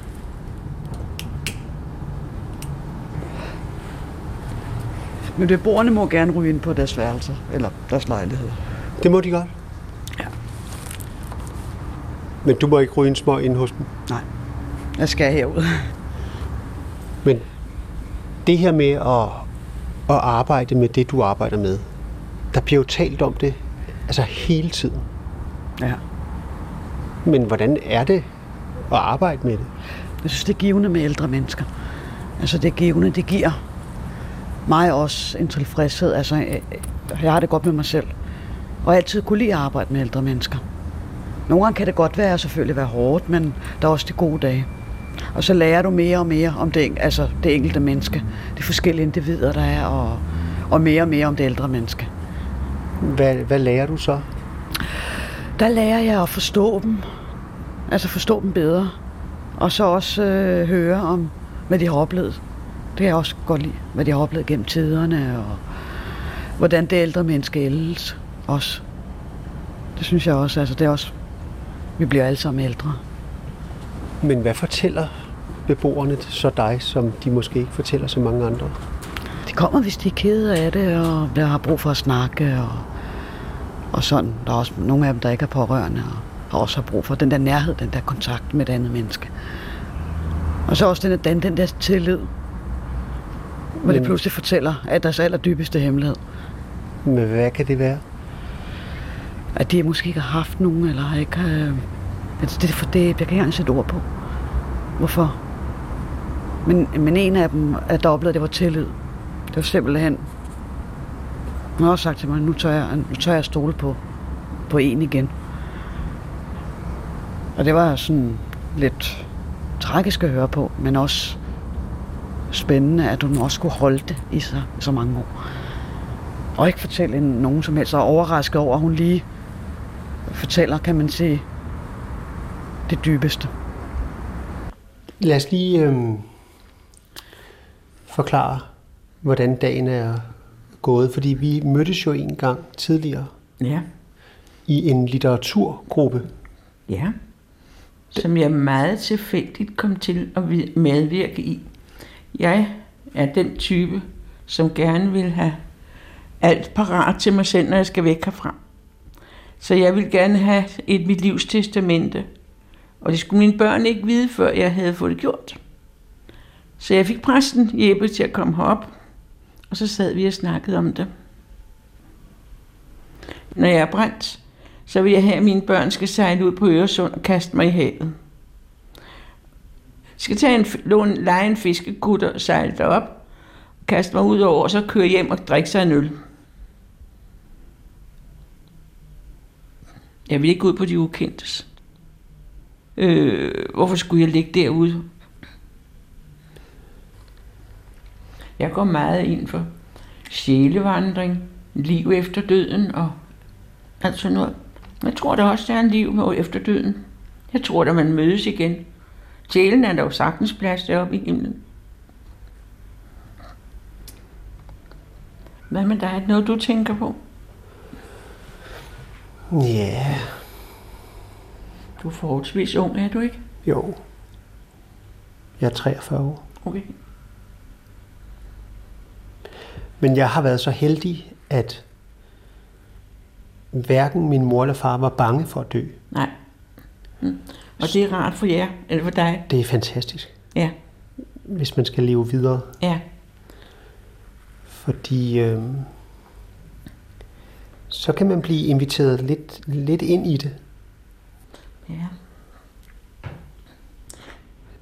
S19: Men beboerne må gerne ryge ind på deres værelser, eller deres lejligheder.
S2: Det må de godt. Men du må ikke ryge en smøg ind hos dem?
S19: Nej. Jeg skal herud.
S2: Men det her med at, at arbejde med det, du arbejder med, der bliver jo talt om det altså hele tiden.
S19: Ja.
S2: Men hvordan er det at arbejde med det?
S19: Jeg synes, det er givende med ældre mennesker. Altså det er givende, det giver mig også en tilfredshed. Altså, jeg- jeg har det godt med mig selv. Og altid kunne lide at arbejde med ældre mennesker. Nogle gange kan det godt være, selvfølgelig være hårdt, men der er også de gode dage. Og så lærer du mere og mere om det, en- altså det enkelte menneske, de forskellige individer, der er, og, og mere og mere om det ældre menneske.
S2: Hvad, hvad lærer du så?
S19: Der lærer jeg at forstå dem, altså forstå dem bedre, og så også øh, høre om, hvad de har oplevet. Det kan jeg også godt lide, hvad de har oplevet gennem tiderne, og hvordan det ældre menneske ældes også. Det synes jeg også, altså det er også, vi bliver alle sammen ældre.
S2: Men hvad fortæller beboerne så dig, som de måske ikke fortæller så mange andre?
S19: De kommer, hvis de er kede af det, og der har brug for at snakke, og, og sådan. Der er også nogle af dem, der ikke er pårørende, og har også har brug for den der nærhed, den der kontakt med et andet menneske. Og så også den der, den, den der tillid, hvor de
S2: Men-
S19: pludselig fortæller at deres allerdybeste hemmelighed.
S2: Men hvad kan det være?
S19: At de måske ikke har haft nogen, eller har ikke... Øh, altså det, er for det, jeg kan ikke engang sætte ord på. Hvorfor? Men, men en af dem, at der oplevede, det var tillid. Det var simpelthen... Hun har også sagt til mig, nu tør jeg, nu tør jeg stole på, på en igen. Og det var sådan lidt tragisk at høre på, men også spændende, at hun også kunne holde det i sig i så mange år. Og ikke fortælle en- nogen som helst, og overraske over, at hun lige fortæller, kan man sige, det dybeste.
S2: Lad os lige øhm, forklare, hvordan dagen er gået, fordi vi mødtes jo en gang tidligere
S11: Ja.
S2: i en litteraturgruppe.
S11: Ja. Som jeg meget tilfældigt kom til at vi- medvirke i. Jeg er den type, som gerne vil have alt parat til mig selv, når jeg skal væk herfra. Så jeg vil gerne have et mit livs testamente. Og det skulle mine børn ikke vide, før jeg havde fået det gjort. Så jeg fik præsten Jeppe til at komme herop, og så sad vi og snakkede om det. Når jeg er brændt, så vil jeg have, at mine børn skal sejle ud på Øresund og kaste mig i havet. Jeg skal tage en, f- låne, lege en fiskekutter og sejle derop, kaste mig ud over, og så køre hjem og drikke sig en øl. Jeg vil ikke ud på de ukendtes. Øh, hvorfor skulle jeg ligge derude? Jeg går meget ind for sjælevandring, liv efter døden og alt sådan noget. Jeg tror der også, der er en liv med efter døden. Jeg tror, at man mødes igen. Sjælen er der jo sagtens plads deroppe i himlen. Hvad med dig? Er det noget, du tænker på?
S2: Ja,
S11: Du er forholdsvis ung, er du ikke?
S2: jo. Jeg er 43 år.
S11: Okay.
S2: Men jeg har været så heldig, at hverken min mor eller far var bange for at dø.
S11: Nej. Mm. Og det er rart for jer, eller for dig.
S2: Det er fantastisk.
S11: Ja.
S2: Hvis man skal leve videre.
S11: Ja.
S2: Fordi øh, øhm, så kan man blive inviteret lidt, lidt ind i det.
S11: Ja.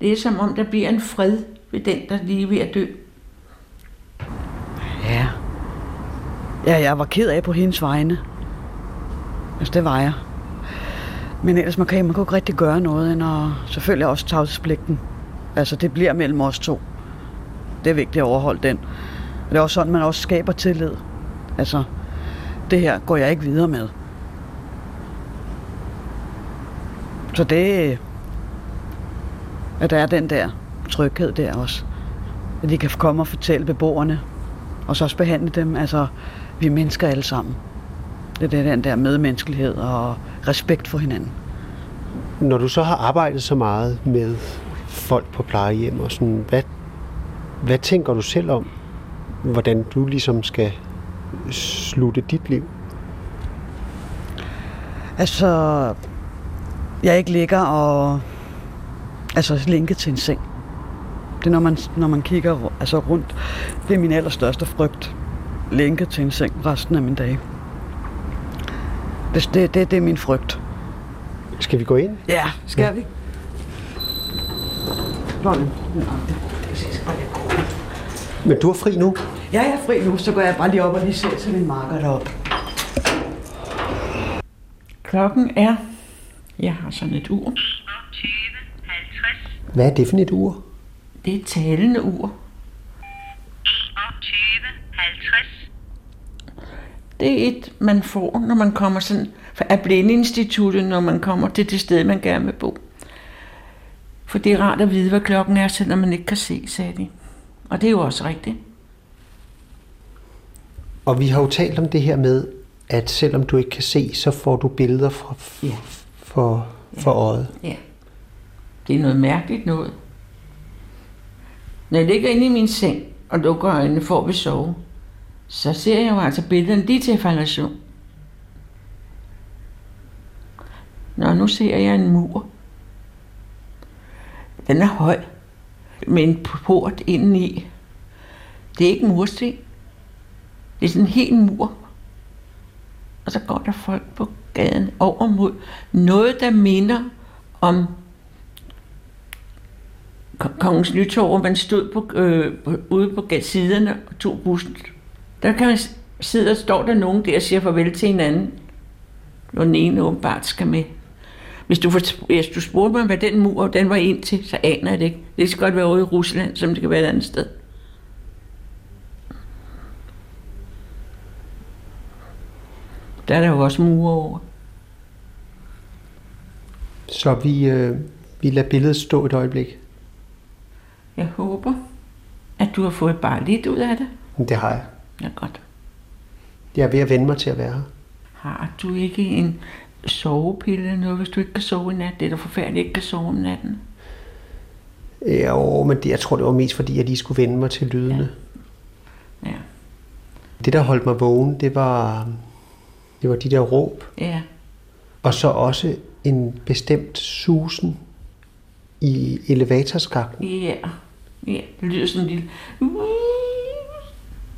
S11: Det er som om, der bliver en fred ved den, der lige er ved at dø.
S19: Ja. Ja, jeg var ked af på hendes vegne. Altså, det var jeg. Men ellers, man kan, man kan jo ikke rigtig gøre noget, end at, selvfølgelig også tavshedspligten. Altså, det bliver mellem os to. Det er vigtigt at overholde den. Og det er også sådan, man også skaber tillid. Altså, det her går jeg ikke videre med. Så det, at der er den der tryghed der også. At de kan komme og fortælle beboerne, og så også behandle dem. Altså, vi er mennesker alle sammen. Det er den der medmenneskelighed og respekt for hinanden.
S2: Når du så har arbejdet så meget med folk på plejehjem og sådan, hvad, hvad tænker du selv om, hvordan du ligesom skal slutte dit liv?
S19: Altså, jeg ikke ligger og altså linket til en seng. Det er, når man, når man kigger ru- altså rundt. Det er min allerstørste frygt. Linket til en seng resten af min dag. Det, det, det, det er min frygt.
S2: Skal vi gå ind?
S19: Ja, skal ja. vi?
S2: Men du er fri nu?
S19: Ja, jeg er fri nu, så går jeg bare lige op og lige ser til min marker deroppe.
S11: Klokken er... Jeg har sådan et ur.
S2: Hvad er det for et ur?
S11: Det er et talende ur. Det er et, man får, når man kommer sådan, af blindeinstituttet, når man kommer til det sted, man gerne vil bo. For det er rart at vide, hvad klokken er, selvom man ikke kan se, sagde de. Og det er jo også rigtigt.
S2: Og vi har jo talt om det her med, at selvom du ikke kan se, så får du billeder fra,
S11: Ja.
S2: for, for øjet.
S11: Ja. Det er noget mærkeligt noget. Når jeg ligger inde i min seng og lukker øjnene for at vil sove, så ser jeg jo altså billederne lige til falation. Nå, nu ser jeg en mur. Den er høj, med en port indeni. Det er ikke mursten. Det er sådan en hel mur. Og så går der folk på gaden over mod noget, der minder om Ko- Kongens Nytorv, hvor man stod på, øh, på, ude på ga- siderne og tog bussen. Der kan man s- sidde og står der nogen der og siger farvel til hinanden. Når den ene åbenbart skal med. Hvis du, fort- hvis du spurgte mig, hvad den mur den var ind til, så aner jeg det ikke. Det kan lige så godt være ude i Rusland, som det kan være et andet sted. Der er der jo også mure over.
S2: Så vi, øh, vi lader billedet stå et øjeblik.
S11: Jeg håber, at du har fået bare lidt ud af det.
S2: Men Det har jeg.
S11: Ja, godt.
S2: Jeg er ved at vende mig til at være her.
S11: Har du ikke en sovepille eller noget, hvis du ikke kan sove i nat? Det er da forfærdeligt, ikke kan sove om natten.
S2: Jo, men det, jeg tror, det var mest, fordi jeg lige skulle vende mig til lydene.
S11: Ja.
S2: Det, der holdt mig vågen, det var, det var de der råb.
S11: Ja.
S2: Og så også en bestemt susen i elevatorskakten.
S11: Ja. Ja, det lyder sådan en lille...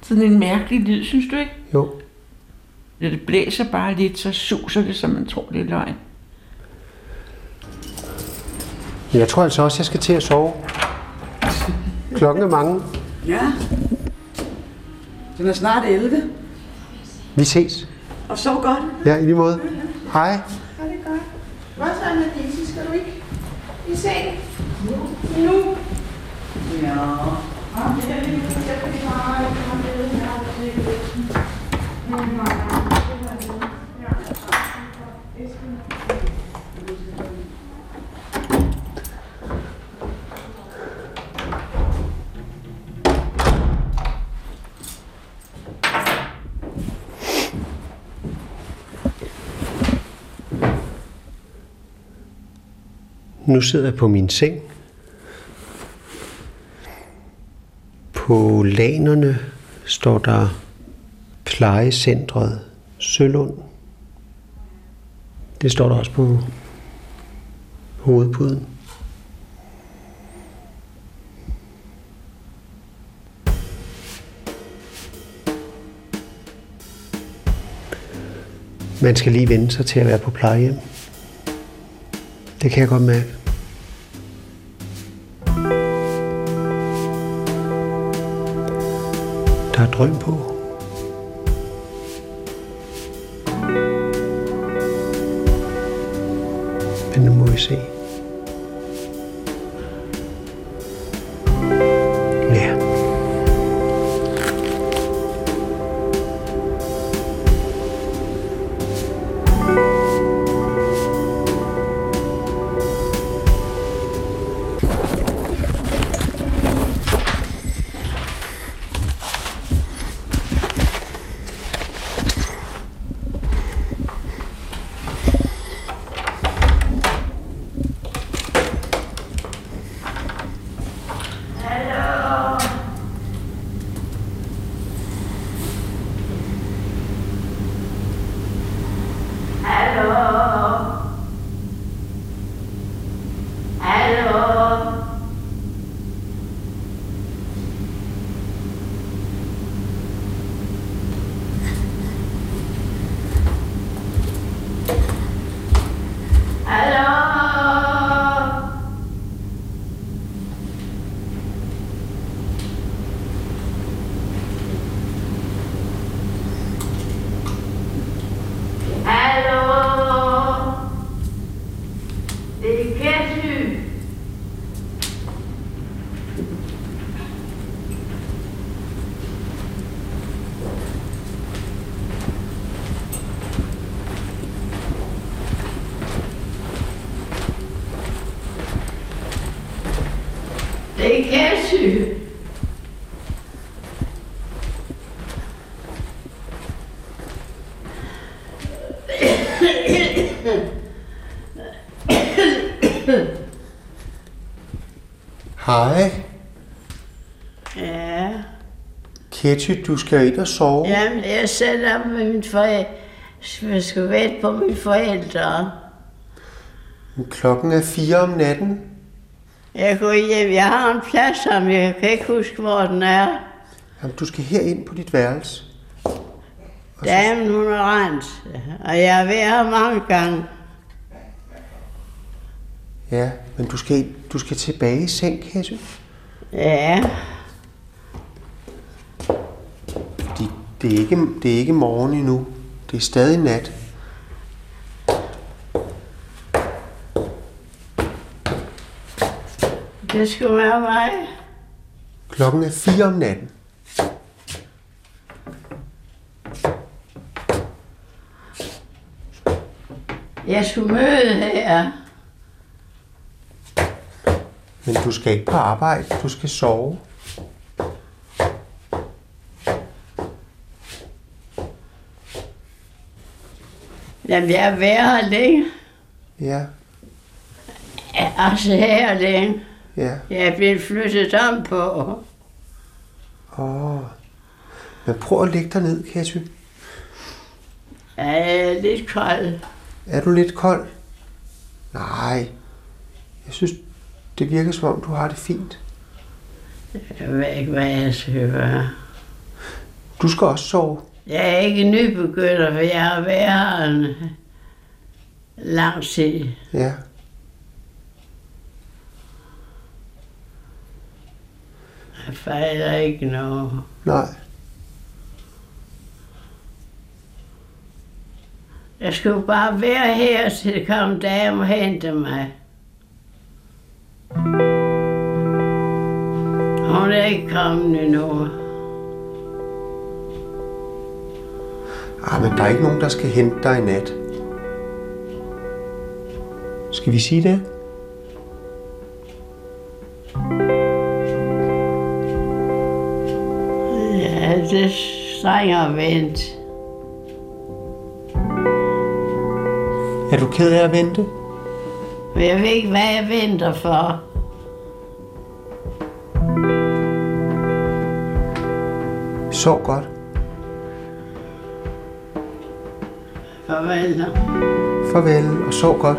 S11: Sådan en mærkelig lyd, synes du ikke?
S2: Jo.
S11: Når det blæser bare lidt, så suser det, som man tror, det er løgn.
S2: Men jeg tror altså også, jeg skal til at sove. Klokken er mange.
S19: Ja. Den er snart 11,
S2: Vi ses.
S19: og så godt.
S2: Ja, i lige måde. Hej.
S15: Ja, det er godt. Hvad så, Anna Disse? Skal du ikke i seng? Nu. Ja.
S2: Nu sidder jeg på min seng. På lanerne står der plejecentret Sølund. Det står der også på hovedpuden. Man skal lige vende sig til at være på plejehjem. Det kan jeg godt mærke. Der er drøm på. Men nu må vi se.
S15: Det kan syge.
S2: Hej,
S15: Ja,
S2: Ketty, du skal ind og sove.
S15: jamen jeg selv op med mine forældre. Jeg skulle vente på mine forældre.
S2: Klokken er fire om natten.
S15: Jeg går hjem. Jeg har en plads, som jeg kan ikke huske, hvor den er.
S2: Jamen, du skal herind på dit værelse.
S15: Damen, hun er rent, og jeg er ved her mange gange.
S2: Ja, men du skal, du skal tilbage i seng, Ketty.
S15: Ja,
S2: Fordi det er ikke, det er ikke morgen endnu. Det er stadig nat.
S15: det skulle være mig.
S2: Klokken er fire om natten.
S15: Jeg skulle møde her.
S2: Men du skal ikke på arbejde. Du skal sove.
S15: Jamen, jeg er ved her længe.
S2: Ja,
S15: Altså her længe.
S2: ja.
S15: Jeg er blevet flyttet om på.
S2: Åh. Men prøv at lægge dig ned, Ketty.
S15: Ja, Jeg er lidt kold.
S2: Er du lidt kold? Nej. Jeg synes, det virker som om, du har det fint.
S15: Jeg ved ikke, hvad jeg skal gøre.
S2: Du skal også sove.
S15: Jeg er ikke nybegynder, for jeg har været her en lang tid.
S2: Ja.
S15: Jeg fejler ikke noget.
S2: Nej.
S15: Jeg skulle bare være her, til det kom dagen og hente mig. Hun er ikke kommet endnu.
S2: Ah, men der er ikke nogen, der skal hente dig i nat. Skal vi sige det?
S15: Ja, det strænger at vente.
S2: Er du ked af at vente?
S15: Men jeg ved ikke, hvad jeg venter for.
S2: Sov godt.
S15: Farvel.
S2: Farvel, og sov godt.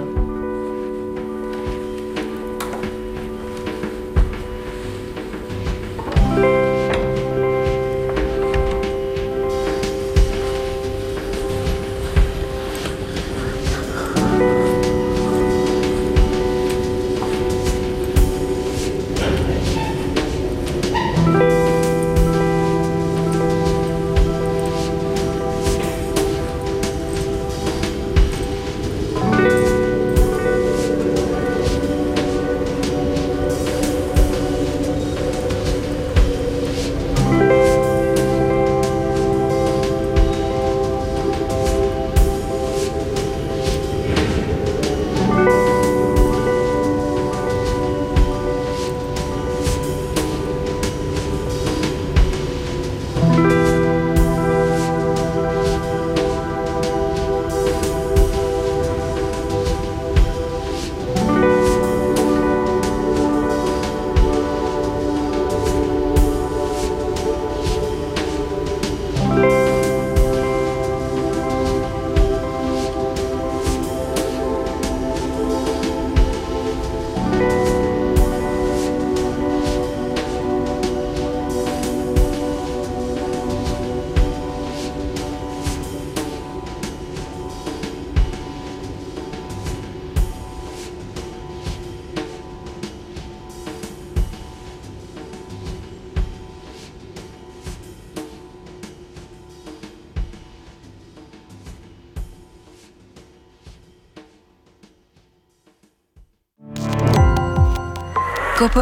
S11: Gå på